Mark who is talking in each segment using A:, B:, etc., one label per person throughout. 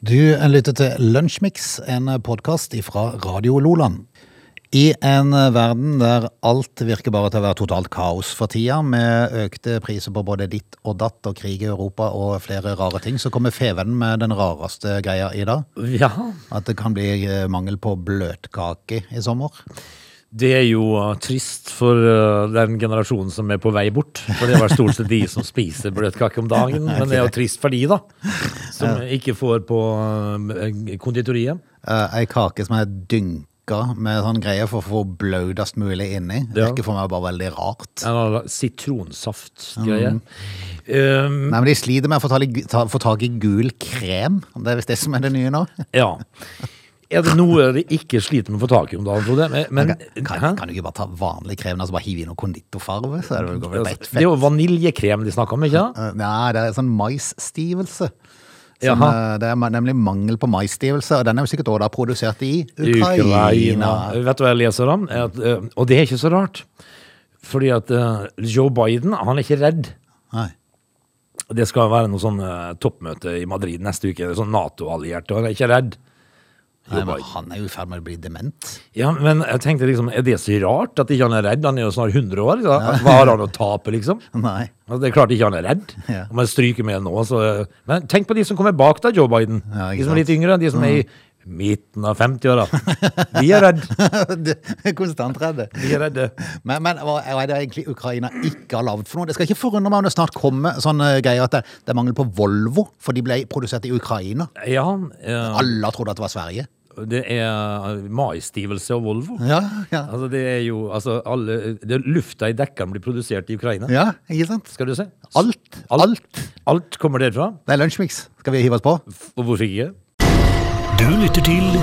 A: Du lytter til Lunsjmix, en podkast fra Radio Loland. I en verden der alt virker bare til å være totalt kaos for tida, med økte priser på både ditt og datt og krig i Europa og flere rare ting, så kommer Fevennen med den rareste greia i dag.
B: Ja,
A: At det kan bli eh, mangel på bløtkake i sommer.
B: det er jo uh, trist for uh, den generasjonen som er på vei bort. For det var stort sett de som spiser bløtkake om dagen. Men det er jo trist for de, da. Som ikke får på uh, konditoriet.
A: Eh, Ei kake som er dynka med sånn greie for å få blaudest mulig inni.
B: Ja.
A: Virker for meg bare veldig rart.
B: En eller annen sitronsaftgreie. Um,
A: Mm. Nei, men De sliter med å få tak i- ta- få tak i gul krem. Det er visst det som er det nye nå.
B: ja. Er det noe de ikke sliter med å få tak i om dagen, Frode? Men- Men
A: Kan,
B: hæ?
A: kan du ikke bare ta vanlig krem og altså bare hive i noe konditorfarge? Så er det, går vel rett
B: det er jo vaniljekrem de snakker om, ikke sant?
A: Eh, Nei, det er sånn maisstivelse. Som,
B: Jaha.
A: eh, det er ma- nemlig mangel på maisstivelse, og den er jo sikkert også da produsert i
B: Ukraina.
A: Ukraina.
B: Vet du hva jeg leser om? At, eh, og det er ikke så rart. Fordi at eh, Joe Biden, han er ikke redd.
A: Nei.
B: Det skal være noe sånn eh, toppmøte i Madrid neste uke. Sånn Nato-allierte, og han er ikke redd.
A: Nei,
B: Joe
A: men
B: Biden.
A: han er jo i ferd med å bli dement.
B: Ja, men jeg tenkte liksom, er det så rart at ikke han er redd? Han er jo snart 100 år. Så hva har han å tape, liksom?
A: Nei.
B: Altså, det er klart ikke han er redd.
A: Ja.
B: Om jeg stryker med nå, så eh, Men tenk på de som kommer bak deg, Joe Biden.
A: Ja, ikke
B: de som er litt
A: sant. Mm.
B: yngre. De som er i midten av 50-åra. De er redde.
A: Det- Konstant redd.
B: De er redde.
A: Men, men hva er det egentlig Ukraina ikke har lagd for noe? Det skal ikke forundre meg om det snart kommer sånne greier at det, det er mangel på Volvo, for de ble produsert i Ukraina.
B: Ja, eh,
A: Alle trodde at det var Sverige.
B: Det er maisstivelse og Volvo.
A: Ja, ja.
B: Altså, det er jo altså, alle, det, Lufta i dekkene blir produsert i Ukraina.
A: ja ikke sant?
B: Skal du se?
A: Alt.
B: Alt.
A: Alt.
B: Alt kommer derfra.
A: Det er lunsjmix. Skal vi hive oss på?
B: F- Og hvorfor ikke?
C: Du lytter til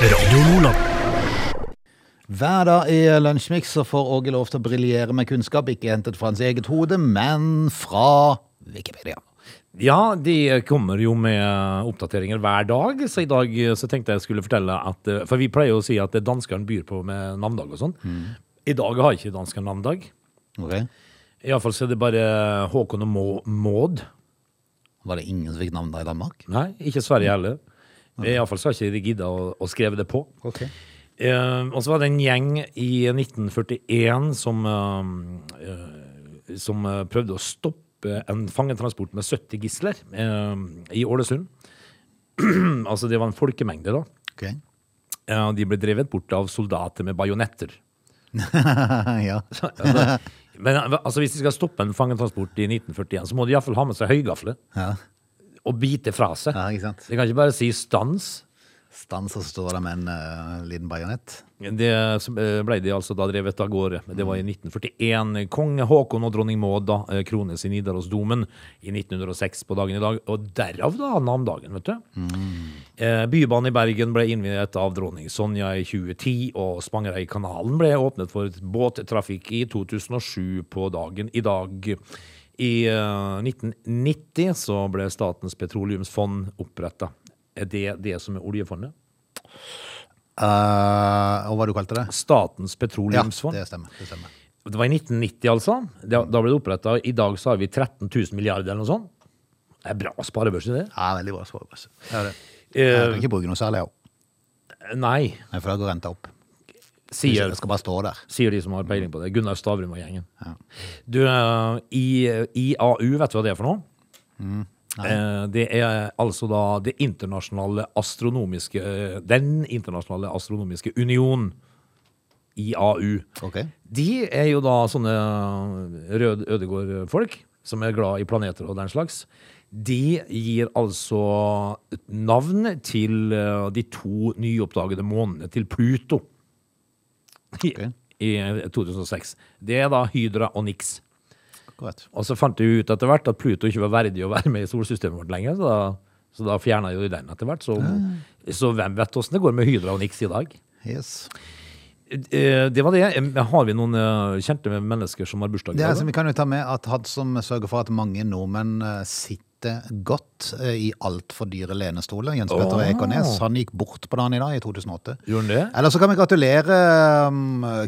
C: Radio Lola.
A: Hver dag i eh, Lunsjmix så får Åge lov til å briljere med kunnskap, ikke hentet fra hans eget hode, men fra Wikipedia.
B: Ja, de kommer jo med oppdateringer hver dag, så i dag eh, så tenkte jeg skulle fortelle at eh, For vi pleier jo å si at eh, danskene byr på med navndag og sånn.
A: Mm.
B: I dag har ikke danskene navndag.
A: Ok.
B: Iallfall så er det bare Håkon og Må- Maud.
A: Var det ingen som fikk navn da i Danmark?
B: Nei, ikke
A: Mm.
B: Sverige heller. Iallfall så har ikke de gidda å, å skrive det på.
A: Ok.
B: Eh, og så var det en gjeng i 1941 som, eh, eh, som eh, prøvde å stoppe en fangetransport med 70 gisler eh, i Ålesund. altså det var en folkemengde, da.
A: Ok.
B: Eh, og de ble drevet bort av soldater med bajonetter.
A: ja.
B: Altså, men eh, altså, hvis de skal stoppe en fangetransport i 1941, så må de iallfall ha med seg høygafle
A: ja.
B: og bite fra seg.
A: Ja, ikke sant.
B: De kan ikke bare si stans.
A: Stans, og så står det med en eh, liten bajonett.
B: Det som, eh, ble de altså da drevet av gårde. Det var i 1941. Kong Haakon og dronning Maud da, eh, krones i Nidarosdomen i 1906 på dagen i dag. Og derav da navndagen, vet du.
A: Mm.
B: Eh, Bybanen i Bergen ble innviet av dronning Sonja i 2010, og Spangereidkanalen ble åpnet for båttrafikk i 2007 på dagen i dag. I eh, 1990 så ble Statens petroleumsfond oppretta. Er det det som er oljefondet?
A: Eh, og hva du kalte det?
B: Statens
A: Ja,
B: petroleumsfond?
A: det stemmer. Det stemmer.
B: Det var i 1990, altså. Da,
A: Mm.
B: da ble det oppretta. I dag så har vi 13 000 milliarder eller noe sånt. Det er bra sparebørs i det.
A: Ja, veldig bra svar. Basse. Ja, det. Jeg kan
B: Eh,
A: ikke bruke noe særlig, jeg.
B: nei,
A: Nei, For da går renta opp.
B: sier,
A: Det skal bare stå der.
B: sier de som har peiling på det. Gunnar Stavrum og gjengen. Du, eh, I, IAU, vet du hva det er for noe?
A: Mm,
B: Eh, Det er altså da det internasjonale astronomiske eh, Den internasjonale astronomiske union, IAU.
A: Ok.
B: De er jo da sånne eh, Rød Ødegård-folk, som er glad i planeter og den slags. De gir altså navn til eh, de to nyoppdagede månene til Pluto i,
A: Ok.
B: i eh, 2006. Det er da Hydra og Nix.
A: Akkurat.
B: Og så fant de ut etter hvert at Pluto ikke var verdig å være med i solsystemet vårt lenger, så da, så da fjerna jo de den etter hvert. Så, så hvem vet åssen det går med Hydra og Nix i dag?
A: Yes.
B: Eh, Det var det. Eh, Har vi noen eh, kjente mennesker som har bursdag? i
A: Det
B: dag,
A: er,
B: da?
A: som vi kan jo ta med at Hadd som sørger for at mange nordmenn eh, sitter godt eh, i altfor dyre lenestoler. Jens Petter
B: Åh.
A: Ekornes han gikk bort på dagen i dag i 2008.
B: Gjorde han det?
A: Eller så kan vi gratulere eh,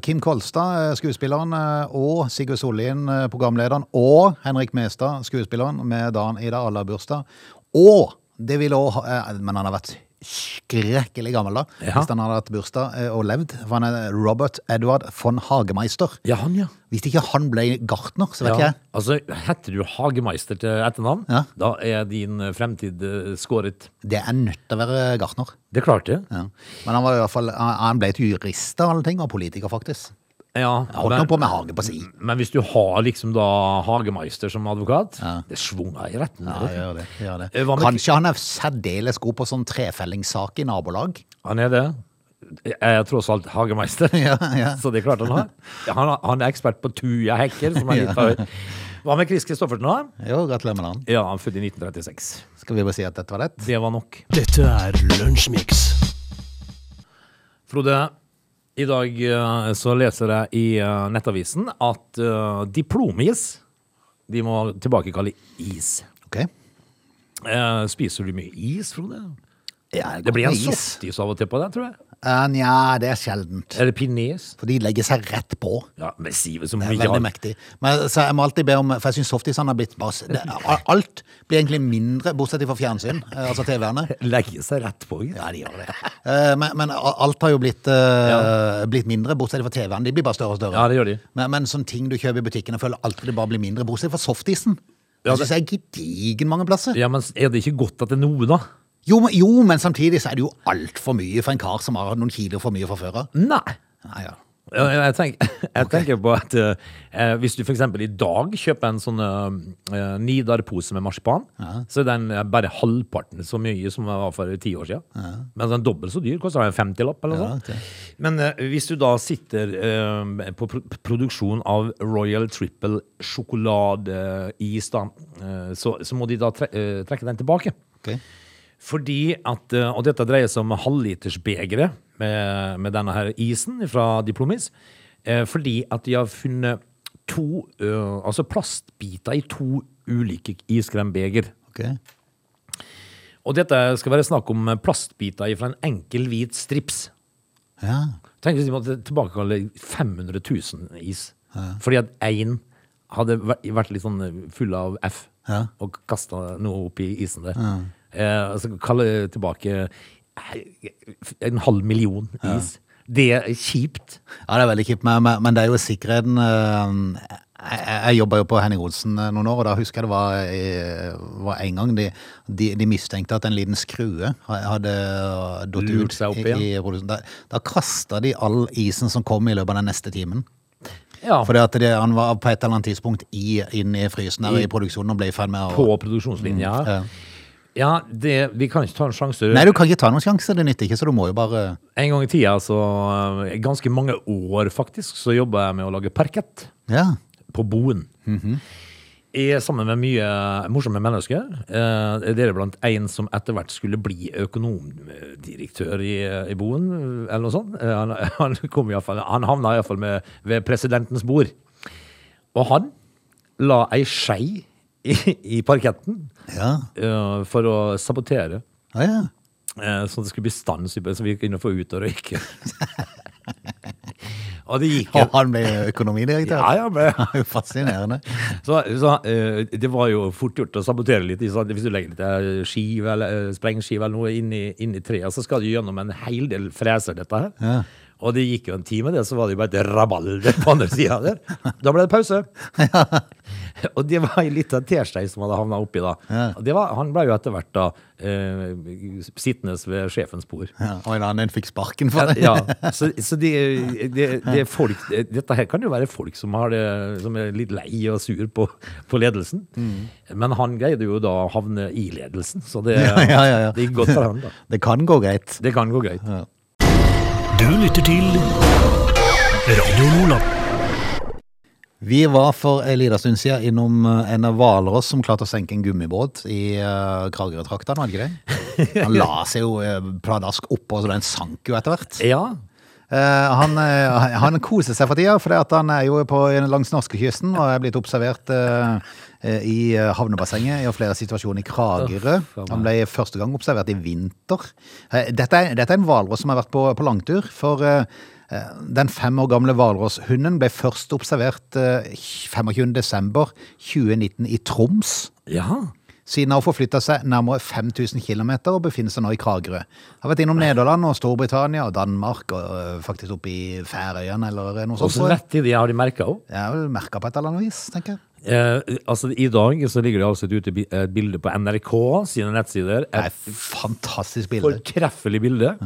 A: Kim Kolstad, eh, skuespilleren, eh, og Sigurd Sollien, eh, programlederen, og Henrik Mestad, skuespilleren, med dagen i dag. Alle har bursdag. Og Det ville også, ha- eh, men han har vært skrekkelig gammel da,
B: Ja.
A: hvis han hadde hatt bursdag eh, og levd. For han er Robert Edward von Hagemeister.
B: Ja, han, ja.
A: Hvis ikke han ble gartner, så vet ikke
B: ja.
A: jeg.
B: Altså, heter du Hagemeister til etternavn,
A: Ja.
B: da er din eh, fremtid eh, skåret.
A: Det er nødt til å være gartner.
B: Det klarte jeg.
A: Ja. Men han, var i hvert fall, han han ble et jurist av alle ting, og politiker faktisk.
B: Ja,
A: Han Holdt nå på med hage på si.
B: men hvis du har liksom da Hagemeister som advokat, det svunger i retten.
A: Ja,
B: eller?
A: gjør det, gjør det.
B: Eh, hva med-
A: Kanskje han er særdeles god på sånn trefellingssak i nabolag.
B: Han er det. Jeg er tross alt hagemeister,
A: Ja, ja.
B: så det er klart han har. Han, er- han er ekspert på tujahekker, som er litt høyt. Hva med Chris Kristoffersen, da?
A: Jo, gratulerer med dagen.
B: Ja, han er født i 1936.
A: Skal vi bare si at dette var lett?
B: Det var nok.
C: Dette er Lunsjmix.
B: Frode, i dag eh, så leser jeg i eh, Nettavisen at eh, diplomis de må tilbakekalle is.
A: Ok.
B: Eh, Spiser du mye is, Frode?
A: Ja,
B: Det blir en
A: godt med
B: softis av og til på deg, tror jeg.
A: Eh, Nja, det er sjeldent.
B: Eller pinés.
A: For de legger seg rett på.
B: Ja, men Sive som
A: Det er
B: mye
A: veldig
B: har
A: mektig. Men, så jeg må alltid be om For jeg syns softisene har blitt bare det, Alt blir egentlig mindre, bortsett fra fjernsyn, eh, altså TV-ene.
B: Legge seg rett på is.
A: Ja, de gjør det. Eh, Men, men alt har jo blitt, eh, blitt mindre, bortsett fra TV-ene. De blir bare større og større.
B: Ja, det gjør de.
A: Men, men sånne ting du kjøper i butikken, jeg føler alltid det bare blir mindre, bortsett fra softisen.
B: Ja,
A: Jeg syns jeg er gedigen mange plasser.
B: Ja, men er det ikke godt at det er noe, da?
A: Jo, men, jo, men samtidig så er det jo altfor mye for en kar som har noen kilo for mye fra før av.
B: Nei.
A: Nei, ja.
B: Jeg, jeg, tenker, jeg tenker på at eh, hvis du f.eks. i dag kjøper en sånn eh, Nidar-pose med marsipan, så er den eh, bare halvparten så mye som den var for ti år siden. Mens den er dobbelt så dyr koster den en femtilapp eller noe
A: Ja,
B: sånt. Men eh, hvis du da sitter eh, på pro produksjon av Royal Triple sjokoladeis, da, eh, så, så må de da tre eh, trekke den tilbake.
A: Ok.
B: Fordi at, eh, og dette dreier seg om halvlitersbegere med, med denne her isen fra Diplomis, eh, fordi at de har funnet to, eh, altså plastbiter i to ulike iskrembeger.
A: ok.
B: Og dette skal være snakk om plastbiter fra en enkel hvit strips.
A: Ja.
B: Tenk hvis de måtte tilbakekalle 500 000 is. Fordi at én hadde vært- vært litt sånn full av F
A: Ja.
B: og kasta noe opp i isen der. Eh, altså kalle tilbake eh, en halv million is. Det er kjipt.
A: Ja, det er veldig kjipt, men, men, men det er jo sikkerheten eh, Jeg, jeg jobba jo på Henning Olsen eh, noen år, og da husker jeg det var, eh, var en gang de, de, de mistenkte at en liten skrue ha- hadde datt
B: Lurt
A: ut.
B: seg opp
A: i-
B: igjen.
A: i produksjonen. Da, da kasta de all isen som kom i løpet av den neste timen.
B: Ja,
A: Fordi at det, han var på et eller annet tidspunkt i, inn i frysen her
B: I-
A: i produksjonen og ble i ferd med å
B: på produksjonslinja.
A: Mm, ja.
B: Ja, det, vi kan ikke ta en sjanse.
A: Nei, du kan ikke ta noen sjanse, det nytter ikke, så du må jo bare
B: En gang i tida, så eh, ganske mange år faktisk, så jobba jeg med å lage parkett.
A: Ja.
B: på boen. Jeg er sammen med mye morsomme mennesker. Eh, Deriblant en som etter hvert skulle bli økonomdirektør i, i boen, eller noe sånt. Eh, Han, han, kom i hvert fall, han havna iallfall med ved presidentens bord. Og han la ei skei i, i parketten
A: Ja.
B: eh, for å sabotere.
A: Ja, ja.
B: Eh, Så det skulle bli stans, i- så vi kunne få ut og røyke. og det gikk.
A: Og han ble økonomidirektør.
B: Ja, ja, men
A: Det er jo fascinerende.
B: Så, så eh, det var jo fort gjort å sabotere litt. ikke sant? Hvis du legger litt eh, skive eller eh, sprengskive eller noe inn i, inn i treet, så skal du gjennom en hel del freser, dette her. Og det gikk jo en time, det, så var det jo bare et rabalder på andre sida der. Da ble det pause. Og det var ei lita teskei som hadde havna oppi da. Og det var, han ble jo etter hvert da eh, sittende ved sjefens bord.
A: Ja, og en annen fikk sparken for det.
B: Ja, så, så det det- det er folk Dette her kan jo være folk som, har det, som er litt lei og sur på, på ledelsen.
A: Mm.
B: Men han greide jo da å havne i ledelsen, så det,
A: Ja, ja, ja, ja.
B: det gikk godt for han da.
A: Det kan gå greit.
B: Det kan gå greit.
C: Du lytter til Radio Lola.
A: Vi var for en liten stund siden innom eh, en av Hvalross som klarte å senke en gummibåt i uh, Kragerø-traktene, var det ikke det? Han la seg jo eh, pladask oppå, så den sank jo etter hvert.
B: Ja,
A: Eh, han, eh, han koser seg for tida, for han er jo på, langs norskekysten og er blitt observert eh, eh, i eh, havnebassenget i flere situasjoner i Kragerø.
B: Uff, for meg.
A: Han ble første gang observert i vinter. Eh, dette, er, dette er en hvalross som har vært på, på langtur. For eh, eh, den fem år gamle hvalrosshunden ble først observert eh, 25. desember 2019 i Troms.
B: ja.
A: siden har forflytta seg nærmere 5000 km og befinner seg nå i Kragerø. Har vært innom Nederland og Storbritannia og Danmark og øh, faktisk oppe i Færøyene eller noe
B: Og
A: sånt.
B: så
A: tror jeg.
B: rett i det har de merka òg.
A: Jeg har vel merka på et eller annet vis, tenker jeg.
B: Eh, altså, I dag så ligger det altså et ute bi- et bilde på NRK sine nettsider.
A: Det er
B: Et
A: et fantastisk bilde.
B: fortreffelig bilde.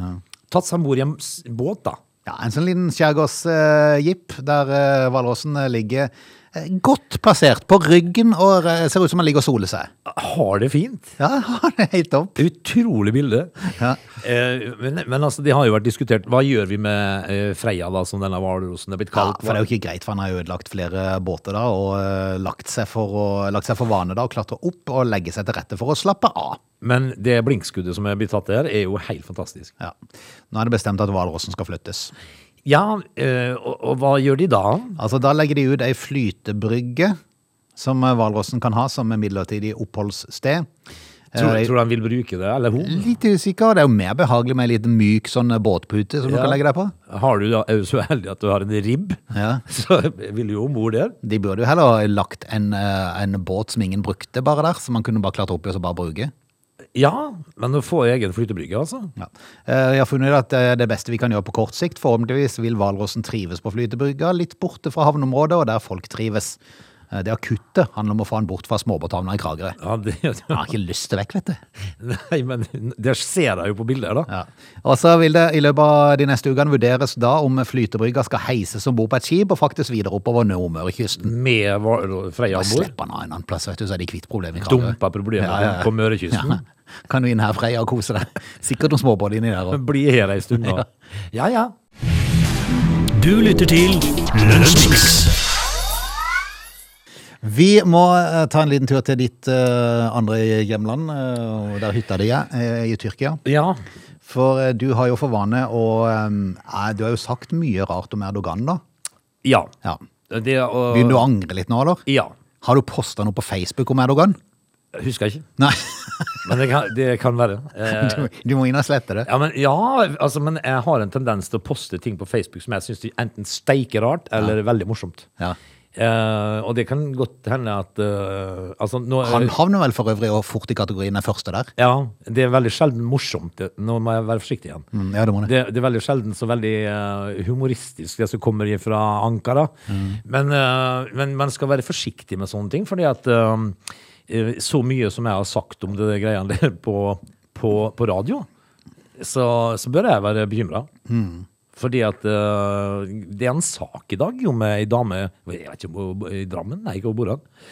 B: Tatt seg om bord i en s- båt, da.
A: Ja, En sånn liten skjærgårdsjeep der eh, Hvalrossen eh, ligger eh, godt plassert på ryggen og eh, ser ut som han ligger og soler seg.
B: Har det fint.
A: Ja, det er helt topp.
B: Utrolig bilde.
A: Ja.
B: Eh, men, men altså, det har jo vært diskutert. Hva gjør vi med eh, Freia, da, som denne hvalrossen er blitt
A: Ja,
B: kalt?
A: for det er jo ikke greit, for han har jo ødelagt flere båter da, og eh, lagt seg for, å, lagt seg for vane da, å klatre opp og legge seg til rette for å slappe av.
B: Men det blinkskuddet som er blitt tatt der, er jo helt fantastisk.
A: Ja. Nå er det bestemt at hvalrossen skal flyttes.
B: Ja, eh, og, og hva gjør de da?
A: Altså, da legger de ut ei flytebrygge som eh, hvalrossen kan ha som en midlertidig oppholdssted.
B: Tror,
A: Eh,
B: tror du han vil bruke det, eller hun?
A: Litt usikker. Det er jo mer behagelig med en liten myk sånn båtpute som du
B: Ja.
A: kan legge deg på.
B: Har du, da- er du så heldig at du har en ribb,
A: Ja.
B: så vil du jo om bord der.
A: De burde jo heller ha lagt en, eh, en båt som ingen brukte bare der, som man kunne bare klatre opp i og så bare bruke.
B: Ja, men å få egen flytebrygge, altså.
A: Ja. Eh, Jeg har funnet ut at eh, det beste vi kan gjøre på kort sikt, forhåpentligvis vil hvalrossen trives på flytebrygga, litt borte fra havneområdet og der folk trives. Eh, Det akutte handler om å få han bort fra småbåthavna i Kragerø.
B: Ja, det,
A: Han har ikke lyst til vekk, vet du.
B: nei, men det ser jeg jo på bilder, da.
A: Ja. Og så vil det i løpet av de neste ukene vurderes da om flytebrygga skal heises om bord på et skip og faktisk videre oppover Nordmørekysten.
B: Med hval- Freia
A: Bare
B: om bord.
A: slipp han av en annen plass, vet du, så er de kvitt problemet i Kragerø.
B: Dumpa problemet
A: Ja, ja, ja.
B: på Mørekysten.
A: Ja. Kan du inn her, Freia, og kose deg. Sikkert noen småbåter inni der. også.
B: Bli her ei stund, da. Ja, ja.
C: Du lytter til Lunsjmix.
A: Vi må eh, ta en liten tur til ditt eh, andre hjemland, eh, og der hytta di er, eh, i Tyrkia.
B: Ja,
A: For eh, du har jo for vane å eh, eh, Du har jo sagt mye rart om Erdogan, da.
B: ja.
A: Ja.
B: Det, og,
A: Begynner du å angre litt nå, eller?
B: Ja.
A: Har du posta noe på Facebook om Erdogan?
B: Jeg Husker ikke.
A: Nei,
B: Men det kan, det kan være. Eh,
A: du, du må inn og slette det.
B: ja, men, ja altså, men jeg har en tendens til å poste ting på Facebook som jeg syns enten steiker rart eller er veldig morsomt.
A: Ja.
B: Eh, og det kan godt hende at eh, altså, nå,
A: Han havner vel for øvrig og fort i kategorien den første der.
B: Ja, det er veldig sjelden morsomt. Det- Nå må jeg være forsiktig igjen.
A: Mm, Ja, det må det.
B: Det, det er veldig sjelden så veldig eh, humoristisk, det som kommer fra Ankara. Men, eh, men man skal være forsiktig med sånne ting, fordi at eh, eh, så mye som jeg har sagt om det greiene der på, på, på radio, så, så bør jeg være bekymra. Fordi at eh, det er en sak i dag om ei dame Jeg vet ikke om hun i Drammen, nei, ikke hvor bor hun?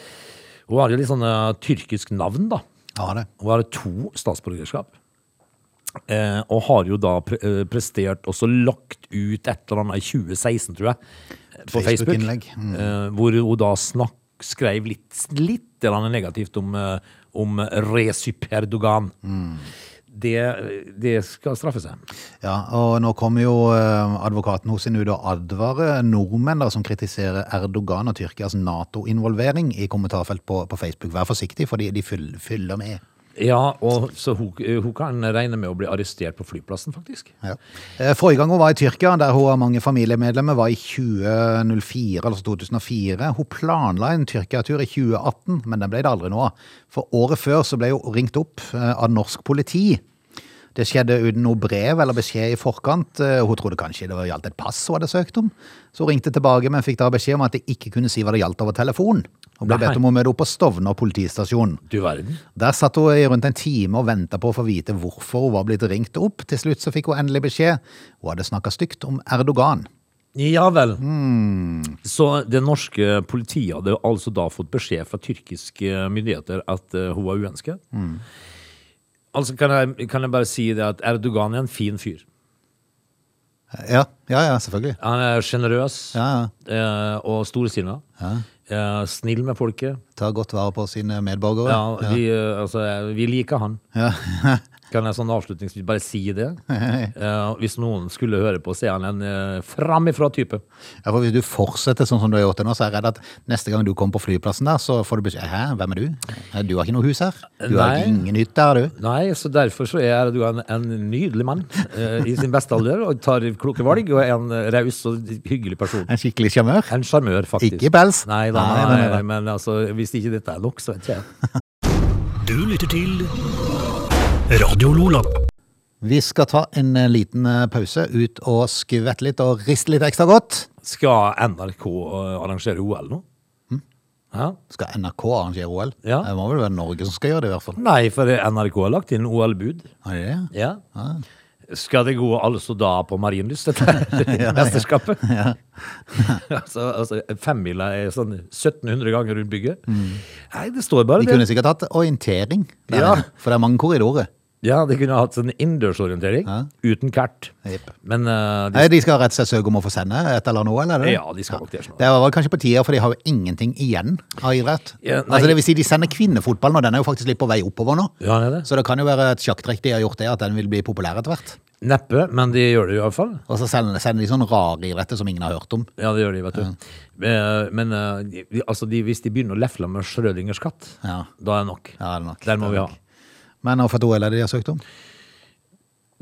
B: Hun har jo litt sånn eh, tyrkisk navn, da.
A: Ja, det.
B: Hun har to statsborgerskap. Eh, og har jo da pre eh, prestert også lagt ut et eller annet i 2016, tror jeg, på Facebook.
A: Facebook-innlegg. Mm.
B: Eh, hvor hun da snakk, skrev litt, litt eller annet negativt om, eh, om Recep Erdogan.
A: Mm.
B: Det, det skal straffe seg.
A: Ja, og nå kommer jo eh, advokaten hos sin ut og advarer nordmenn da, som kritiserer Erdogan og Tyrkias NATO-involvering i kommentarfelt på, på Facebook. Vær forsiktig, for de, de fyll, fyller med.
B: Ja, og så hun, hun kan regne med å bli arrestert på flyplassen, faktisk.
A: Ja. Eh, Forrige gang hun var i Tyrkia, der hun har mange familiemedlemmer, var i 2004, altså 2004. Hun planla en Tyrkia-tur i 2018, men den ble det aldri noe av. For året før så ble hun ringt opp eh, av norsk politi. Det skjedde uten noe brev eller beskjed i forkant. Eh, Hun trodde kanskje det var gjaldt et pass hun hadde søkt om. Så hun ringte tilbake, men fikk da beskjed om at de ikke kunne si hva det gjaldt over telefon. Hun ble
B: Nei.
A: bedt om å møte opp på Stovner politistasjon.
B: Du verden.
A: Der satt hun i rundt en time og venta på å få vite hvorfor hun var blitt ringt opp. Til slutt så fikk hun endelig beskjed. Hun hadde snakka stygt om Erdogan.
B: Ja vel. Så det norske politiet hadde altså da fått beskjed fra tyrkiske myndigheter at eh, hun var uønsket? Altså kan jeg, kan jeg bare si det at Erdogan er en fin fyr.
A: Ja, ja, ja selvfølgelig.
B: Han er sjenerøs
A: Ja, ja.
B: eh, og storsinna. Eh, snill med folket.
A: Tar godt vare på sine medborgere.
B: Ja, vi, eh, altså, eh, vi liker han. Kan jeg sånn avslutningsvis bare si det? Eh, hvis noen skulle høre på, så er han en eh, framifrå-type.
A: Ja, for Hvis du fortsetter sånn som du har gjort det nå, så er jeg redd at neste gang du kommer på flyplassen der, så får du beskjed Hæ, hvem er du? Du har ikke noe hus her? Du har
B: Nei.
A: ingen hytte her, du?
B: Nei, så derfor så er du en, en nydelig mann eh, i sin beste alder og tar kloke valg og er en eh, raus og hyggelig person.
A: En skikkelig sjarmør?
B: En sjarmør, faktisk.
A: Ikke pels?
B: Nei, da,
A: Nei, nei, nei, nei.
B: men altså, hvis ikke dette er nok, så vet ikke jeg.
C: Du lytter til Radio Lola.
A: Vi skal ta en eh, liten eh, pause, ut og skvette litt og riste litt ekstra godt.
B: Skal NRK eh, arrangere OL nå? Hæ?
A: Skal NRK arrangere OL?
B: Ja.
A: Det må vel være Norge som skal gjøre det, i hvert fall.
B: Nei, for NRK har lagt inn OL-bud.
A: Har de det?
B: Ja. Skal det gå altså da på Marienlyst, dette mesterskapet? altså, altså, femmila er sånn 1700 ganger rundt bygget. Nei, det står bare
A: De
B: det.
A: kunne sikkert hatt orientering, der,
B: Ja.
A: inne, for det er mange korridorer.
B: Ja, de kunne hatt sånn innendørsorientering
A: Ja.
B: uten kart.
A: Jepp.
B: Men eh,
A: Nei, De skal rett og slett søke om å få sende et eller annet OL? er det det?
B: Ja, de skal nok sånn. det snart.
A: Det var vel kanskje på tide, for de har jo ingenting igjen av idrett.
B: Ja, nei.
A: altså, det vil si, de sender kvinnefotballen, og den er jo faktisk litt på vei oppover nå.
B: de, ja, det er det.
A: Så det kan jo være et sjakktrekk de har gjort det, at den vil bli populær etter hvert.
B: Neppe, men de gjør det i hvert fall.
A: Og så sender, sender de sånne rare idretter som ingen har hørt om.
B: Ja, det gjør de, vet du. Eh, Men eh, de- de- altså, de, hvis de begynner å lefle med Schrødingers katt,
A: Ja.
B: da er det nok.
A: Ja, det er nok.
B: Der må
A: Det
B: vi
A: er
B: ha.
A: nok. Men hvorfor et OL er det de har søkt om?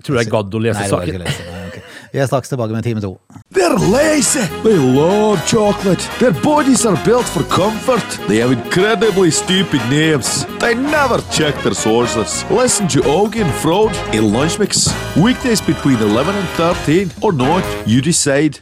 B: Tror jeg gadd å lese
A: Nei, det var ikke
B: saken.
A: lese. Nei, ok. Vi er straks tilbake med Time to.
D: They're lazy. They love chocolate. Their bodies are built for comfort. They have incredibly stupid names. They never check their sources. Listen to Augie and Frode in Lunch Mix. Weekdays between 11 and 13 or not, you decide.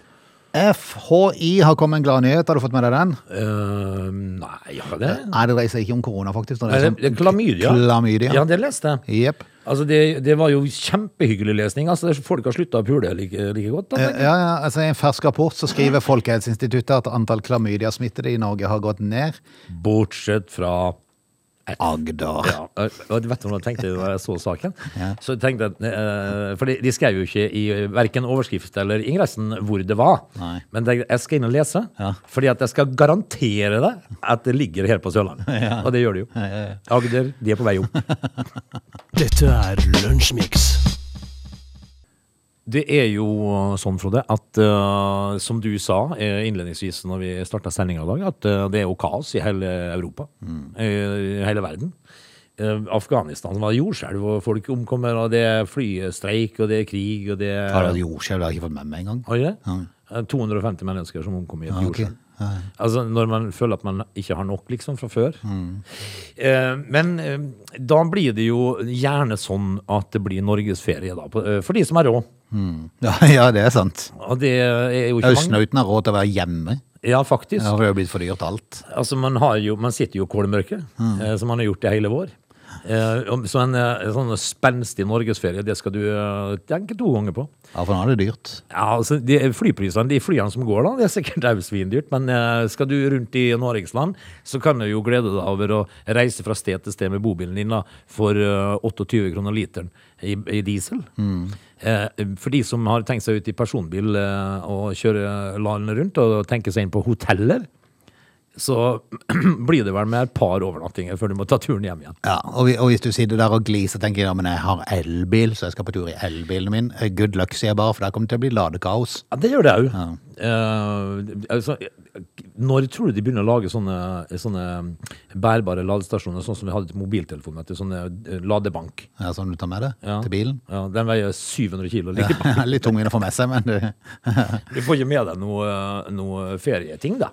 A: FHI har kommet en glad nyhet. Har du fått med deg den?
B: Eh, nei, har jeg det?
A: Nei, det dreier seg ikke om korona, faktisk.
B: Nei,
A: Det sånn.
B: det- det er sånn- Klamydia.
A: Klamydia.
B: Ja, det leste jeg.
A: Jepp.
B: Altså, det, det var jo kjempehyggelig lesning. Altså, det- folk har slutta å pule like, like godt. Da,
A: Ja,
B: tenker jeg.
A: ja, altså I en fersk rapport så skriver Folkehelseinstituttet at antall klamydia-smittede i Norge har gått ned.
B: Bortsett fra
A: Agder.
B: Ja, og og vet du hva jeg tenkte da jeg så saken? Så jeg tenkte jeg, eh, For de, de skrev jo ikke i verken overskrift eller ingressen hvor det var.
A: Nei.
B: Men tenkte, jeg skal inn og lese,
A: Ja.
B: fordi at jeg skal garantere deg at det ligger her på Sørlandet. Og det gjør det jo. Agder, de er på vei opp.
C: Dette er Lunsjmix.
B: Det er jo sånn, Frode, at eh, som du sa eh, innledningsvis når vi starta sendinga i dag, at eh, det er jo kaos i hele Europa.
A: Mm.
B: eh, i hele verden. Eh, Afghanistan var jordskjelv, og folk omkommer, og det er flystreik, og det er krig, og det er
A: Har det jordskjelv? Det har jeg ikke fått med meg engang.
B: Har ikke det? Eh, 250 mennesker som omkom i et
A: ok.
B: jordskjelv. Altså når man føler at man ikke har nok, liksom, fra før.
A: Mm.
B: Eh, men eh, da blir det jo gjerne sånn at det blir norgesferie, da, på- eh, for de som har råd.
A: Ja, ja, det er sant.
B: Og det er jo ikke mange.
A: Østnauten har råd til å være hjemme.
B: Ja, faktisk.
A: Ja, for det har blitt for dyrt alt.
B: Altså, man, har jo, man sitter jo i kålmørket, eh, som man har gjort i hele vår. Eh, om- så en eh, sånn spenstig norgesferie, det skal du eh, tenke to ganger på.
A: Ja, for nå er det dyrt.
B: Ja, altså, de Flyprisene, de flyene som går, da, det er sikkert også svindyrt. Men eh, skal du rundt i Norgesland, så kan du jo glede deg over å reise fra sted til sted med bobilen din da, for eh, 28 kroner literen i, i diesel. Eh, for de som har tenkt seg ut i personbil eh, og kjøre landet rundt og tenke seg inn på hoteller, så blir det vel med et par overnattinger før du må ta turen hjem igjen.
A: Ja, og, vi- og hvis du sitter der og gliser, tenker jeg ja, men jeg har elbil, så jeg skal på tur i elbilen min. Eh, Good luck, sier jeg bare, for der kommer det til å bli ladekaos.
B: Ja, det gjør det òg. altså, når tror du de begynner å lage sånne, sånne bærbare ladestasjoner, sånn som vi hadde til mobiltelefonen? Vet du, sånne eh, ladebank.
A: Ja, sånn du tar med det
B: Ja.
A: til bilen.
B: Ja, den veier 700 kilo. Liksom.
A: Ja, Litt tungvint å få med seg, men det,
B: Du får ikke med deg noe, eh, noe ferieting, da.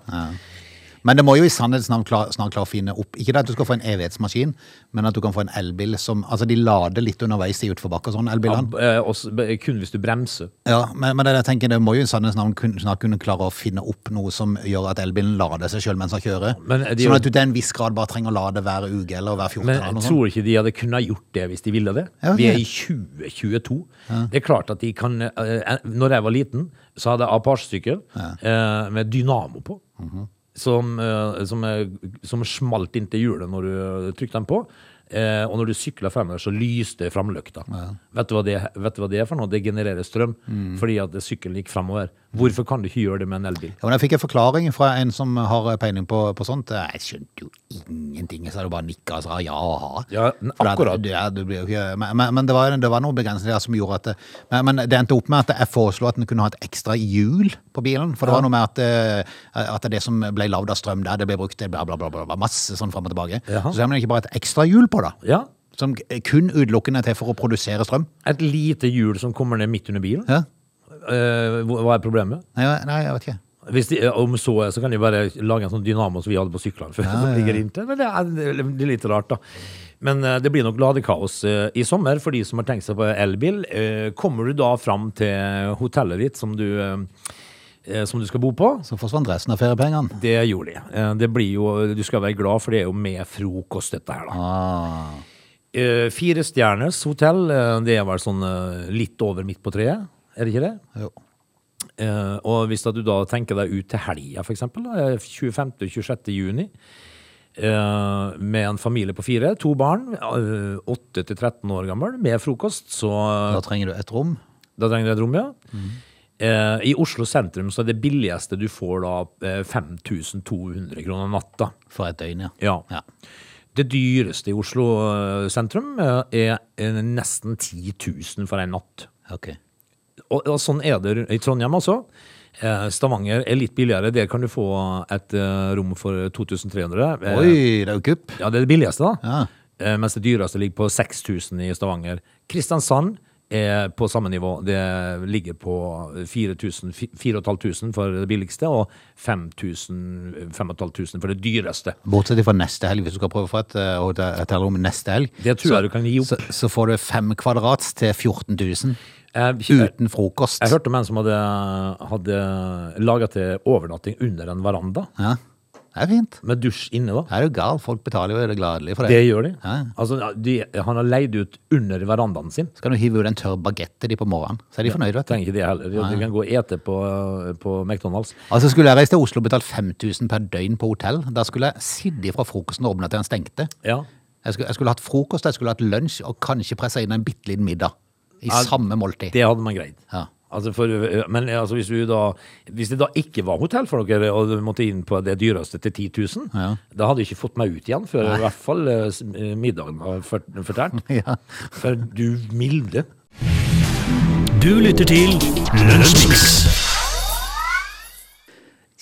A: men det må jo i sannhets navn klar, snart klare å finne opp Ikke det at du skal få en evighetsmaskin, men at du kan få en elbil som Altså, de lader litt underveis i utforbakke og sånn,
B: Ja,
A: elbilene.
B: b- eh, også, b- kun hvis du bremser.
A: Ja, men, men det jeg tenker, det må jo i sannhets navn kun- snart kunne klare å finne opp noe som gjør at elbilen lader seg sjøl mens den kjører.
B: Men er det jo-
A: sånn at du til en viss grad bare trenger å lade hver uke eller hver 14
B: Men
A: eller noe
B: jeg
A: sånt.
B: tror ikke de hadde kunnet gjort det hvis de ville det.
A: Ja, ok.
B: Vi er i 2022. Det er klart at de kan eh, eh, Når jeg var liten, så hadde jeg Apache-sykkel eh, med dynamo på.
A: Mhm.
B: som, eh, som, eh, som smalt inn til hjulet når du eh, trykte den på. Eh, og når du sykla fremover, så lyste framlykta. Vet, du hva det, vet du hva det er for noe? Det genererer strøm
A: Mm.
B: fordi at sykkelen gikk fremover. Hvorfor kan du ikke gjøre det med en elbil?
A: Ja, men jeg fikk en forklaring fra en som har peiling på, på sånt. Jeg skjønte jo ingenting, så jeg bare nikka og sa ja og ha.
B: Ja, n-
A: For det-
B: akkurat.
A: Ja, det blir jo ikke, men men, men det, var, det var noen begrensninger som gjorde at det, men, men det endte opp med at jeg foreslo at en kunne ha et ekstra hjul på bilen. For det var noe med at, eh, at det som ble lagd av strøm der, det ble brukt til bla, bla, bla, bla, bla masse sånn fram og tilbake.
B: Jaha.
A: Så har man ikke bare et ekstra hjul på, da.
B: Ja,
A: Som kun utelukkende er til for å produsere strøm.
B: Et lite hjul som kommer ned midt under bilen.
A: Ja.
B: Eh, hva hva er problemet?
A: Nei, nei, jeg vet ikke.
B: Hvis de, eh, om så er, så kan de bare lage en sånn dynamo som vi hadde på syklene før. som ligger inntil, men det er, det er litt rart, da. Men eh, det blir nok ladekaos eh, i sommer for de som har tenkt seg på elbil. Eh, Kommer du da fram til hotellet ditt som du, eh, eh, som du skal bo på?
A: Så forsvant resten av feriepengene.
B: Det gjorde de. Eh, Det blir jo, du skal være glad, for det er jo med frokost, dette her. da.
A: Ah,
B: Eh, Fire stjerners hotell, eh, det er vel sånn eh, litt over midt på treet, er det ikke det?
A: jo.
B: Eh, og hvis at du da tenker deg ut til helga, f.eks., 25.-26. eh, juni, eh, med en familie på fire, to barn, eh, 8-13 år gammel, med frokost, så eh,
A: Da trenger du et rom.
B: da trenger du et rom, ja. Eh, I Oslo sentrum så er det billigste du får da eh, 5200 kroner natta.
A: For et døgn, ja.
B: Ja.
A: Ja.
B: Det dyreste i Oslo eh, sentrum eh, er eh, nesten 10 000 for en natt.
A: Ok.
B: Og, og sånn er det i Trondheim også. Eh, Stavanger er litt billigere. Der kan du få et eh, rom for 2300. Eh,
A: Oi, det er jo kupp.
B: Ja, det er det billigste, da.
A: Ja.
B: Eh, mens det dyreste ligger på 6000 i Stavanger. Kristiansand er på samme nivå. Det ligger på 4000, 4500 for det billigste, og 5000, 5500 for det dyreste.
A: Bortsett fra neste helg, hvis du skal prøve å få et eh, hotell- et hotellrom neste helg.
B: Det tror
A: så-
B: jeg du kan gi opp.
A: Så, så får du fem kvadrats til 14 000
B: Jeg, jeg,
A: uten frokost.
B: hørte om en som hadde, hadde laga til overnatting under en veranda,
A: Ja. Det er fint.
B: med dusj inne, da.
A: Det er jo galt. Folk betaler jo det gladelig for det.
B: Det gjør de.
A: Ja, ja.
B: Altså, de han har leid ut under verandaen sin.
A: Så kan du hive ut en tørr bagett til de på morgenen, så er de fornøyde, vet du.
B: Trenger ikke det heller. De kan gå og ete på, på McDonald's.
A: Altså Skulle jeg reist til Oslo og betalt 5000 per døgn på hotell, da skulle jeg sittet fra frokosten åpna til den stengte.
B: Ja.
A: Jeg skulle, jeg skulle hatt frokost, jeg skulle hatt lunsj og kanskje pressa inn en bitte liten middag. I
B: Ja,
A: samme måltid.
B: Det hadde man greid.
A: Ja.
B: Altså for, men altså hvis, du da, hvis det da ikke var hotell for dere, og du måtte inn på det dyreste til 10 000,
A: Ja.
B: da hadde jeg ikke fått meg ut igjen før i hvert fall eh, s- eh, middagen var fort- fortært.
A: Ja.
B: For du milde.
C: Du lytter til Lunsjmix.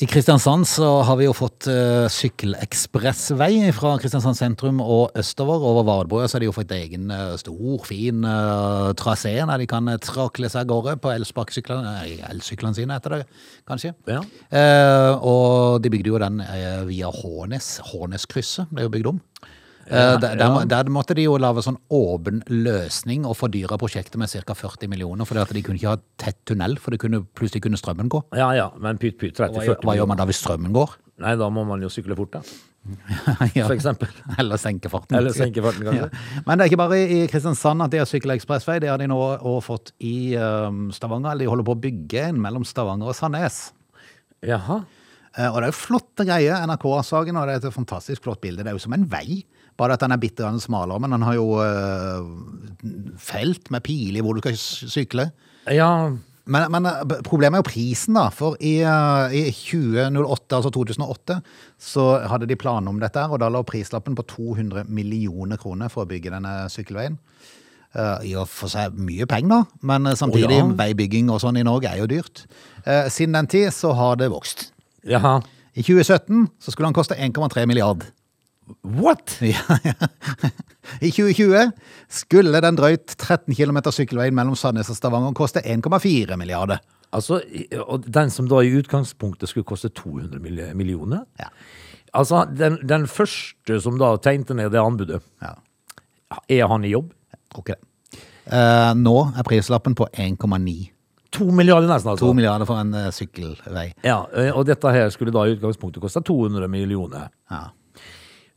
A: I Kristiansand så har vi jo fått uh, sykkelekspressvei fra Kristiansand sentrum og østover. Over Vardbrua så har de jo fått egen eh, stor, fin eh, trasé der de kan eh, trakle seg av gårde på elsparkesyklene eh, elsyklene sine, heter det kanskje.
B: Ja.
A: Eh, og de bygde jo den eh, via Hånes. Håneskrysset ble jo bygd om. Eh, der, der, må- der måtte de jo lage sånn åpen løsning og fordyre prosjektet med ca. 40 millioner, for de kunne ikke ha tett tunnel, for det kunne, plutselig kunne strømmen gå.
B: Ja, ja, men pytt, pytt,
A: Hva,
B: 30-40
A: gjør- hva gjør man da hvis strømmen går?
B: Nei, da må man jo sykle fort, da.
A: Ja.
B: For eksempel.
A: Eller senke farten.
B: Eller senke farten, kanskje.
A: Men det er ikke bare i Kristiansand at de har sykkelekspressvei. Det har de nå også fått i um, Stavanger. Eller de holder på å bygge en mellom Stavanger og Sandnes.
B: Jaha.
A: Eh, Og det er jo flotte greier, NRK-saken, og det er et fantastisk flott bilde. Det er jo som en vei, bare at den er bitte grann smalere, men den har jo eh, felt med piler hvor du skal sy- sykle.
B: Ja,
A: Men, men eh, b- problemet er jo prisen, da. For i, eh, i 2008, altså 2008, så hadde de planer om dette, her, og da lå prislappen på 200 millioner kroner for å bygge denne sykkelveien. Eh, I og for seg mye penger, da, men eh, samtidig,
B: ja.
A: veibygging og sånn i Norge er jo dyrt. Eh, Siden den tid så har det vokst.
B: jaha.
A: I 2017 så skulle han koste 1,3 milliard.
B: What?
A: Ja, ja. I 2020 skulle den drøyt 13 km sykkelveien mellom Sandnes og Stavanger koste 1,4 milliarder.
B: Altså, i- og den som da i utgangspunktet skulle koste 200 mil- millioner
A: Ja.
B: Altså, den, den første som da tegnte ned det anbudet,
A: Ja,
B: er han i jobb?
A: tror ikke det. Eh, nå er prislappen på 1,9.
B: To milliarder nesten,
A: 2
B: altså.
A: milliarder for en eh, sykkelvei.
B: Ja, eh, og dette her skulle da i utgangspunktet koste 200 millioner.
A: Ja.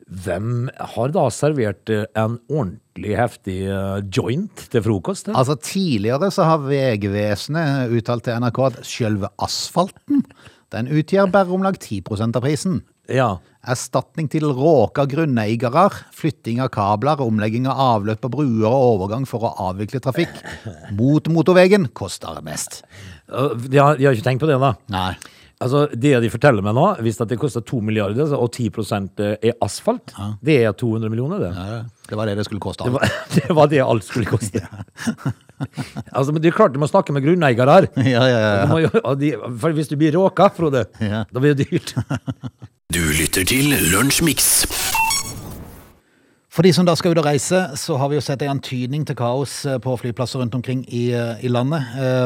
B: Hvem har da servert eh, en ordentlig heftig eh, joint til frokost? eh?
A: Altså Tidligere så har Vegvesenet uttalt til NRK at selve asfalten den utgjør bare om lag 10 av prisen.
B: Ja.
A: Erstatning til råka grunneigere, flytting av kabler, omlegging av avløp på bruer og overgang for å avvikle trafikk mot motorveien koster mest.
B: Eh, De har, de har ikke tenkt på det, da.
A: Nei.
B: Altså, Det de forteller meg nå, hvis at det koster 2 milliarder, så- og 10 er asfalt, det er 200 millioner, det.
A: Det var det det skulle koste.
B: Det var, det var det alt skulle koste. altså, men det er klart du må snakke med grunneiere her.
A: Ja, ja,
B: Du
A: ja.
B: må jo- og de- For hvis du blir råka, Frode,
A: Ja.
B: da blir det dyrt.
C: Du lytter til Lunsjmix.
A: For de som da skal ut og reise, så har vi jo sett en antydning til kaos eh, på flyplasser rundt omkring i, eh, i landet.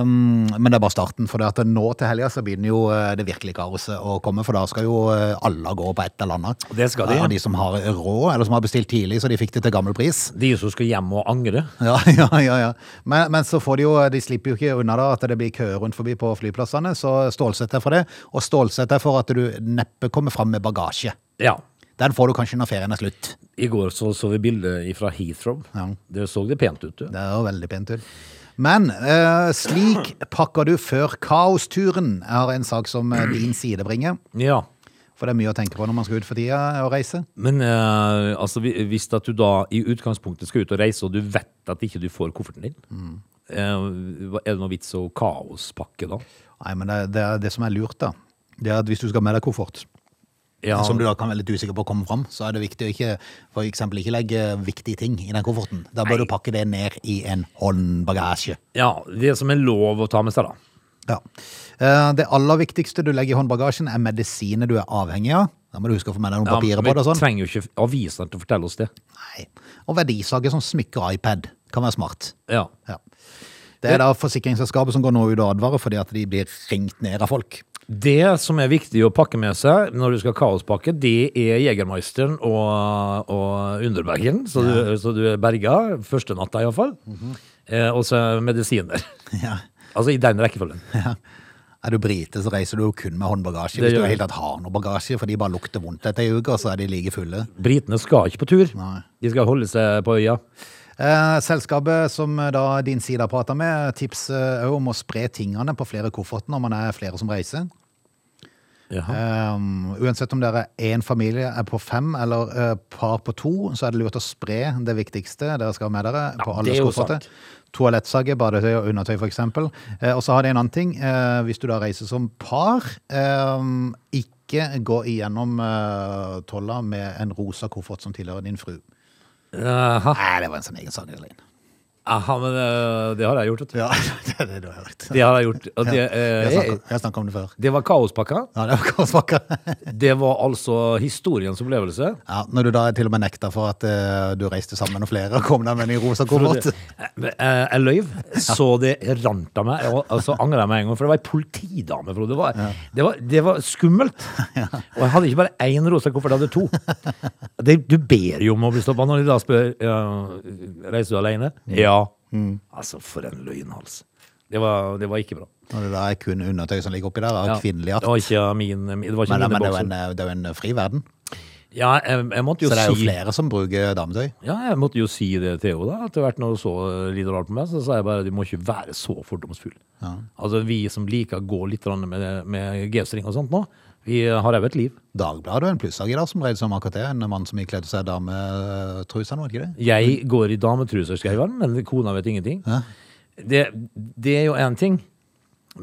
A: Um, men det er bare starten, for det at nå til helga så begynner jo eh, det virkelige kaoset å komme. For da skal jo eh, alle gå på et eller annet.
B: Det skal de.
A: Ja, de som har råd, eller som har bestilt tidlig, så de fikk det til gammel pris.
B: De som skal hjem og angre.
A: Ja, ja, ja. ja. Men, men så får de jo, de slipper jo ikke unna da at det blir køer rundt forbi på flyplassene, så stålsett deg for det, og stålsett deg for at du neppe kommer fram med bagasje.
B: Ja.
A: Den får du kanskje når ferien er slutt.
B: I går så, så vi bildet fra Heathrow.
A: Ja.
B: Det så det pent ut. du.
A: Det er jo veldig pent ut. Men eh, slik pakker du før kaosturen, er en sak som eh, din side bringer.
B: Ja.
A: For det er mye å tenke på når man skal ut for tida og reise.
B: Men eh, altså, vi- hvis at du da i utgangspunktet skal ut og reise, og du vet at ikke du får kofferten din,
A: Mm.
B: eh, hva- er det noe vits å kaospakke da?
A: Nei, men det, det, er det som er lurt, da, det er at hvis du skal med deg koffert,
B: Ja,
A: som du da kan være litt usikker på å komme fram, så er det viktig å ikke for eksempel ikke legge viktige ting i den kofferten. Da bør du pakke det ned i en håndbagasje.
B: ja, det som er lov å ta med seg, da.
A: Ja. Eh, Det aller viktigste du legger i håndbagasjen, er medisiner du er avhengig av. Da må du huske å få med deg noen
B: Ja,
A: papirer
B: vi
A: på det. og sånn.
B: trenger jo ikke avisene til å fortelle oss det.
A: Nei. Og verdisager som smykker og iPad kan være smart.
B: Ja.
A: Ja. Det er da forsikringsselskapet som går nå ut og advarer fordi at de blir ringt ned av folk.
B: Det som er viktig å pakke med seg når du skal kaospakke, det er Jegermeisteren og, og Underbergen, så, du, så du er berga. Første natta, iallfall. eh, og så medisiner.
A: Ja.
B: Altså i den rekkefølgen.
A: Er du brite, så reiser du jo kun med håndbagasje.
B: Det
A: Hvis du
B: gjør
A: i
B: jeg.
A: hele tatt har noe bagasje, for de bare lukter vondt etter ei uke, og så er de like fulle.
B: Britene skal ikke på tur.
A: Nei.
B: De skal holde seg på øya.
A: Eh, Selskapet som eh, da din side har prata med, tipser òg om å spre tingene på flere kofferter når man er flere som reiser.
B: Jaha.
A: Um, uansett om dere er en familie er på fem eller eh, par på to, så er det lurt å spre det viktigste dere skal ha med dere. på alle
B: det er jo
A: skufferter.
B: sant.
A: Toalettsaker, badetøy og undertøy f.eks. Uh, og så har de en annen ting. eh, hvis du da reiser som par, ehm, ikke gå igjennom eh, tolla med en rosa koffert som tilhører din fru.
B: Aha.
A: Nei, det var en sånn egen sak, Elin.
B: Aha, men eh, det har jeg gjort. vet du.
A: Ja, det er det du har hørt.
B: Det har jeg gjort. Og det,
A: Ja,
B: eh,
A: jeg snakket- jeg snakka om det før.
B: det var kaospakka.
A: Ja, det var korsvakker.
B: Det var altså historiens opplevelse.
A: Ja, Når du da til og med nekta for at eh, du reiste sammen med flere og kom deg med en ny rosa koffert.
B: Eh, eh, Jeg løyv, så det rant av meg. Og og så angrer jeg meg en gang, for det var ei politidame. Frode. Det, var, det, var, det var skummelt. Og jeg hadde ikke bare én rosa koffert, jeg hadde to. Det, du ber jo om å bli stoppa når de da spør ja, reiser du alene.
A: Mm.
B: Ja. Altså, for en løgnhals. Det var, det var ikke bra.
A: Når det da er kun undertøy som ligger oppi der, av
B: Ja.
A: kvinnelig
B: Det
A: art.
B: var ikke min, min- det var ikke
A: Men,
B: mine
A: men det, er jo
B: bokser.
A: en, eh, det er jo en fri verden.
B: Ja, jeg, jeg måtte jo
A: Så det er jo
B: si
A: flere som bruker dametøy.
B: ja, jeg måtte jo si det til henne da, etter hvert når hun så litt rart på meg, så sa jeg bare, du må ikke være så fordomsfull. Altså, vi som liker å gå litt grann med, med G-string og sånt nå, vi har jo et liv.
A: Dagbladet er en plussak i dag som reide som AKT. En mann som ikledde seg dametrusa, var det ikke det?
B: Jeg går i dametruser, skal jeg være, men kona vet ingenting. Det, det er jo en ting,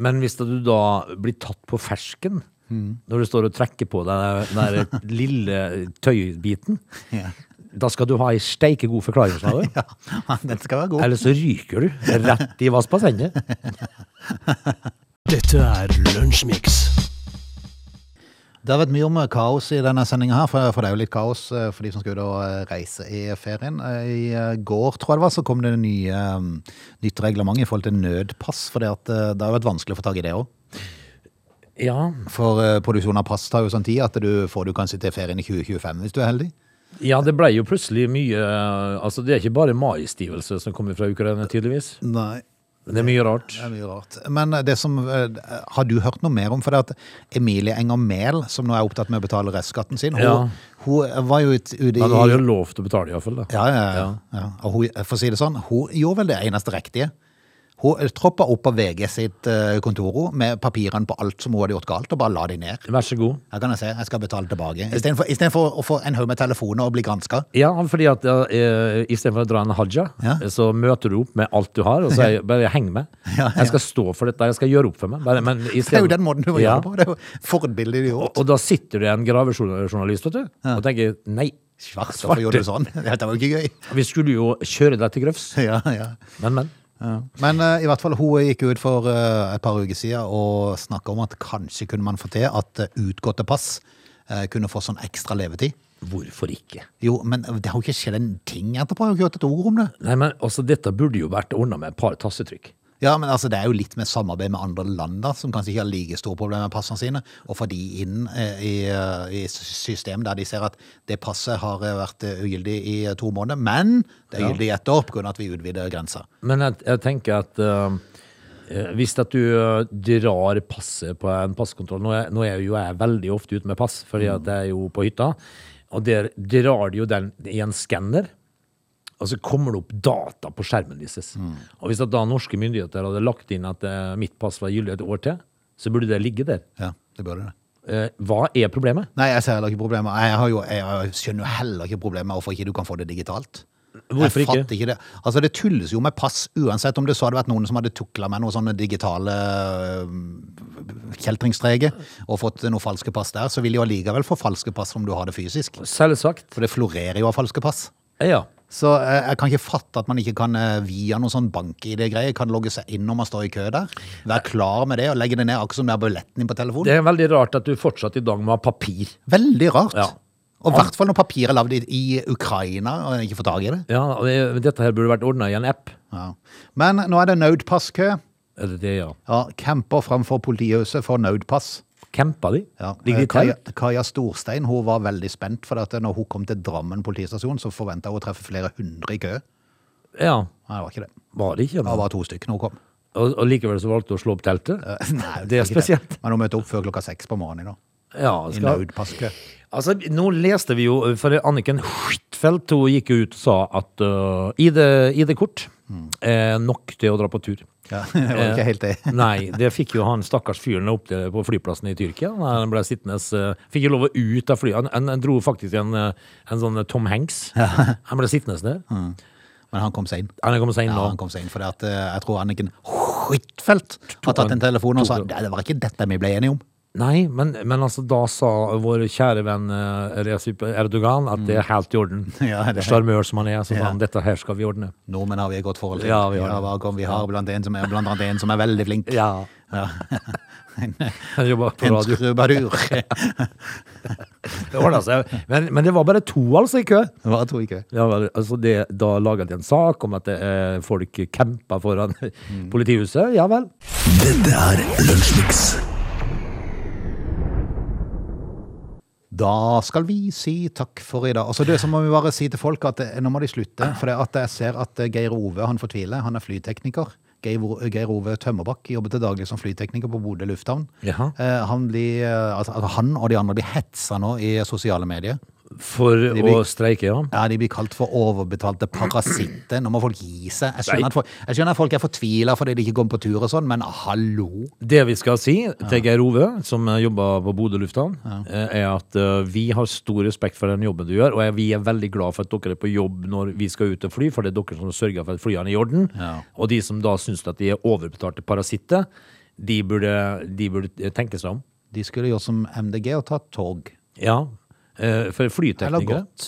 B: men hvis du da blir tatt på fersken, når du står og trekker på den der, den der lille tøybiten,
A: Ja.
B: da skal du ha en steikegod forklaring, sa du.
A: Ja, den skal være god.
B: Eller så ryker du rett i vassbassenget.
C: Dette er Lunsjmix.
A: Det har vært mye om eh, kaos i denne sendinga her, for, for det er jo litt kaos eh, for de som skal ut og eh, reise i ferien. Eh, I eh, går, tror jeg det var, så kom det nye, eh, nytt reglement i forhold til nødpass. For det, at, eh, det har jo vært vanskelig å få tak i det òg.
B: Ja,
A: For eh, produksjon av pass tar jo sånn tid at du får du kanskje til ferien i 2025 hvis du er heldig.
B: ja, det ble jo plutselig mye eh, Altså, det er ikke bare maistivelse som kommer fra Ukraina, tydeligvis.
A: Nei.
B: Det er mye rart.
A: Det er mye rart. Men eh, det som, eh, har du hørt noe mer om? For det at Emilie Enger Mehl, som nå er opptatt med å betale restskatten sin, hun,
B: Ja.
A: hun eh, var jo ut- ute i
B: Men du har jo lov til å betale, iallfall. da.
A: Ja, ja, ja. ja. Og hun, for å si det sånn, hun gjorde vel det eneste riktige. Hun troppa opp på VG sitt eh, kontor hun, med papirene på alt som hun hadde gjort galt, og bare la de ned.
B: Vær så god.
A: Her kan jeg se, jeg skal betale tilbake. Istedenfor istedenfor å få en haug med telefoner og bli granska.
B: Ja, fordi at eh, istedenfor å dra en haja,
A: Ja.
B: eh, så møter du opp med alt du har, og så er, bare heng med.
A: Ja, ja.
B: Jeg skal stå for dette, jeg skal gjøre opp for meg. Bare, men i
A: Det er
B: stedet-
A: jo den måten du må
B: Ja.
A: gjøre det på. Det er jo forbildet de har
B: Og,
A: gjort.
B: og da sitter det en gravejournalist, vet du, og tenker nei,
A: Svart, hvorfor gjorde du sånn? Dette var jo ikke gøy.
B: vi skulle jo kjøre deg til grøfs.
A: Ja, ja.
B: Men, men.
A: Ja. Men eh, i hvert fall, hun gikk ut for eh, et par uker siden og snakka om at kanskje kunne man få til at eh, utgåtte pass eh, kunne få sånn ekstra levetid.
B: Hvorfor ikke?
A: Jo, men det har jo ikke skjedd en ting etterpå. Jeg har ikke hørt et ord om det.
B: Nei, men altså, dette burde jo vært ordna med et par tassetrykk.
A: Ja, men altså, Det er jo litt med samarbeid med andre land, da, som kanskje ikke har like store problemer med passene sine. Og få de inn eh, i, eh, i s- system der de ser at det passet har eh, vært eh, ugyldig i eh, to måneder, men det er gyldig i ett år pga. at vi utvider grensa.
B: Men jeg, jeg tenker at eh, eh, hvis at du eh, drar passet på en passkontroll Nå er, nå er jo jeg veldig ofte ute med pass, fordi at jeg er jo på hytta. Og der drar de jo den i en skanner, og så kommer det opp data på skjermen deres. Og hvis at da norske myndigheter hadde lagt inn at eh, mitt pass var gyldig et år til, så burde det ligge der.
A: Ja, det burde det.
B: Eh, hva er problemet?
A: Nei, jeg ser heller ikke problemet. Jeg, har jo, jeg skjønner jo heller ikke problemet med hvorfor ikke du kan få det digitalt.
B: Hvorfor
A: jeg
B: ikke?
A: fatter ikke det. Altså, det tulles jo med pass, uansett om det så hadde vært noen som hadde tukla med noen sånne digitale øh, kjeltringstreker og fått noen falske pass der, så vil de jo allikevel få falske pass om du har det fysisk.
B: Selvsagt.
A: For det florerer jo av falske pass.
B: Ja.
A: Så eh, jeg kan ikke fatte at man ikke kan eh, via noen sånn bank-ID-greie kan logge seg inn når man står i kø der. Være klar med det og legge det ned, akkurat som det er billetten din på telefonen.
B: Det er veldig rart at du fortsatt i dag må ha papir.
A: Veldig rart.
B: Ja.
A: Og i hvert fall når papiret er lagd i, i Ukraina og en ikke får tak i det.
B: Ja, og det- Dette her burde vært ordna i en app.
A: Ja. Men nå er det nødpasskø.
B: Er det det, ja?
A: Ja, camper framfor politihuset for nødpass.
B: Campa de?
A: Ja.
B: Ligger de i
A: Eh, Kaja,
B: telt?
A: Kaja Storstein hun var veldig spent, for at når hun kom til Drammen politistasjon, så forventa hun å treffe flere hundre i kø.
B: Ja.
A: Nei, det var ikke det.
B: Var det ikke?
A: Det var
B: Men.
A: bare to stykker når hun kom. Eh,
B: Og, og likevel så valgte du å slå opp teltet?
A: Nei,
B: Det er
A: ikke
B: spesielt.
A: Men hun møtte opp før klokka seks på morgenen i dag.
B: Ja,
A: I
B: skal.
A: nødpasskø.
B: Altså, nå leste vi jo, for Anniken Huitfeldt hun gikk jo ut og sa at øh, ID- ID-kort
A: Mm.
B: er nok til å dra på tur.
A: Ja, det var ikke helt det.
B: Nei, det fikk jo han stakkars fyren opp til på flyplassen i Tyrkia. Han ble sittende øh, Fikk jo lov å ut av flyet. Han, han, han dro faktisk i en, øh, en sånn Tom Hanks. Han ble sittende der.
A: Men han kom seg inn.
B: Han er kommet seg inn
A: Mm. Ja,
B: nå.
A: han kom seg inn, for det at, eh, jeg tror Anniken Huitfeldt har tatt en telefon og sa
B: tok
A: «Nei, det var ikke dette vi ble enige om.
B: Nei, men, men altså, da sa vår kjære venn eh, Recep Erdogan at det er helt i orden.
A: Ja, det er-
B: Sjarmør som han Mm. er, så sa
A: Ja.
B: han dette her skal vi ordne.
A: Nordmenn har vi et godt forhold til.
B: Ja, vi har det.
A: hva kan vi har blant, en som er, blant annet en som er veldig flink.
B: Ja.
A: Ja. en
B: Han jobba på
A: en
B: radio.
A: skrubadur.
B: Det ordna seg. Men, men det var bare to, altså, i kø.
A: Hva tror jeg ikke?
B: Ja, vel, altså det, da laga de en sak om at det, eh, folk campa foran politihuset. Ja vel.
A: Da skal vi si takk for i dag. Altså det så må vi bare si til folk at eh, nå må de slutte, for det at jeg ser at eh, Geir Ove han fortviler. Han er flytekniker. Geir, Vo- eh, Geir Ove Tømmerbakk jobber til daglig som flytekniker på Bodø lufthavn.
B: Jaha.
A: Eh, Han, blir, eh, altså, altså, han og de andre blir hetsa nå i sosiale medier.
B: For å
A: blir-
B: streike, ja.
A: Ja, De blir kalt for overbetalte parasitter. Nå må folk gi seg. Jeg skjønner, at folk, jeg skjønner at folk er fortvila fordi de ikke kommer på tur og sånn, men hallo!
B: Det vi skal si til Geir Ove, som eh, jobber på Bodø lufthavn, eh, er at eh, vi har stor respekt for den jobben du gjør, og jeg- vi er veldig glad for at dere er på jobb når vi skal ut og fly, for det er dere som sørger for at flyene er i orden.
A: Ja.
B: Og de som da syns at de er overbetalte parasitter, de burde, de burde eh, tenke seg om.
A: De skulle gjort som MDG og tatt tog.
B: Ja. Eh, For
A: Eller
B: flyteknikere,
A: gått.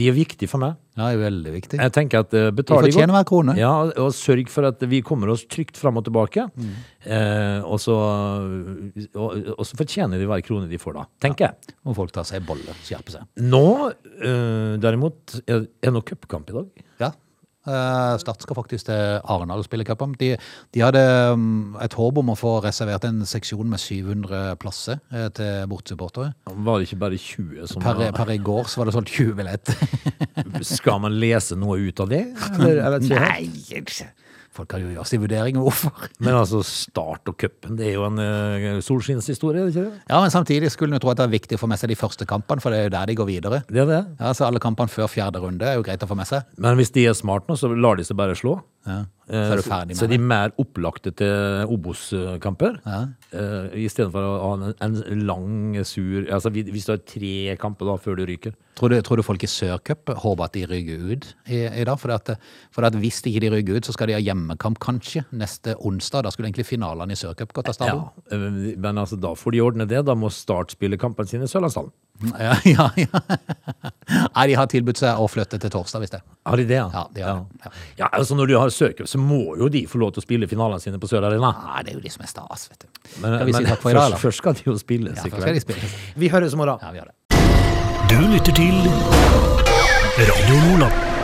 B: de er viktige for meg.
A: Ja, det er veldig viktig.
B: Jeg tenker at eh, betal
A: Vi fortjener hver krone.
B: Ja, og sørg for at vi kommer oss trygt fram og tilbake. Eh, og, så, og, og så fortjener de hver krone de får da, tenker jeg.
A: Må folk ta seg en bolle, skjerpe seg.
B: Nå, eh, derimot, er er det noe cupkamp i dag?
A: Ja. Eh, Start skal faktisk til Arendal og spille cup. om. De, de hadde mm, et håp om å få reservert en seksjon med 700 plasser eh, til bortsupportere.
B: Var det ikke bare 20 som
A: Per, per i går så var det solgt 20 billetter.
B: Skal man lese noe ut av det? Eller, jeg vet ikke. helt.
A: Nei! Folk kan jo gjøre sin vurdering av hvorfor.
B: Men altså, start og cupen, det er jo en eh, solskinnshistorie, er det ikke det?
A: Ja, men samtidig skulle en jo tro at det er viktig å få med seg de første kampene, for det er jo der de går videre.
B: Det er det.
A: Ja, Så alle kampene før fjerde runde er jo greit å få med seg.
B: Men hvis de er smart nå, så lar de seg bare slå.
A: Ja.
B: Eh,
A: Så er du ferdig
B: så
A: med det.
B: de er mer opplagte til Obos-kamper. Ja. I stedet for å ha en, en lang, sur altså vi- Hvis du har tre kamper da før du ryker.
A: Tror du, tror du folk i Sørcup håper at de rygger ut i, i dag? For, at, for at hvis ikke de rygger ut, så skal de ha hjemmekamp kanskje neste onsdag. Da skulle egentlig finalene i Sørcup gått av stabelen.
B: Eh, Men altså, da får de ordne det. Da må Start spille kampene sine i Sørlandshallen.
A: Ja, ja, ja. Nei, de har tilbudt seg å flytte til torsdag, hvis det.
B: Har de det, ja?
A: Ja, de har det,
B: ja. Ja, altså Når du har Sørcup, så må jo de få lov til å spille finalene sine på Sør Arena.
A: Nei, det er jo de som er stas, vet du.
B: Men,
A: skal vi si
B: men
A: takk for i dag,
B: først,
A: da?
B: først skal de jo spille.
A: Ja, først skal de spille.
B: Vi høres i morgen.
A: Ja, vi gjør det.
C: Du lytter til Radio Nordland.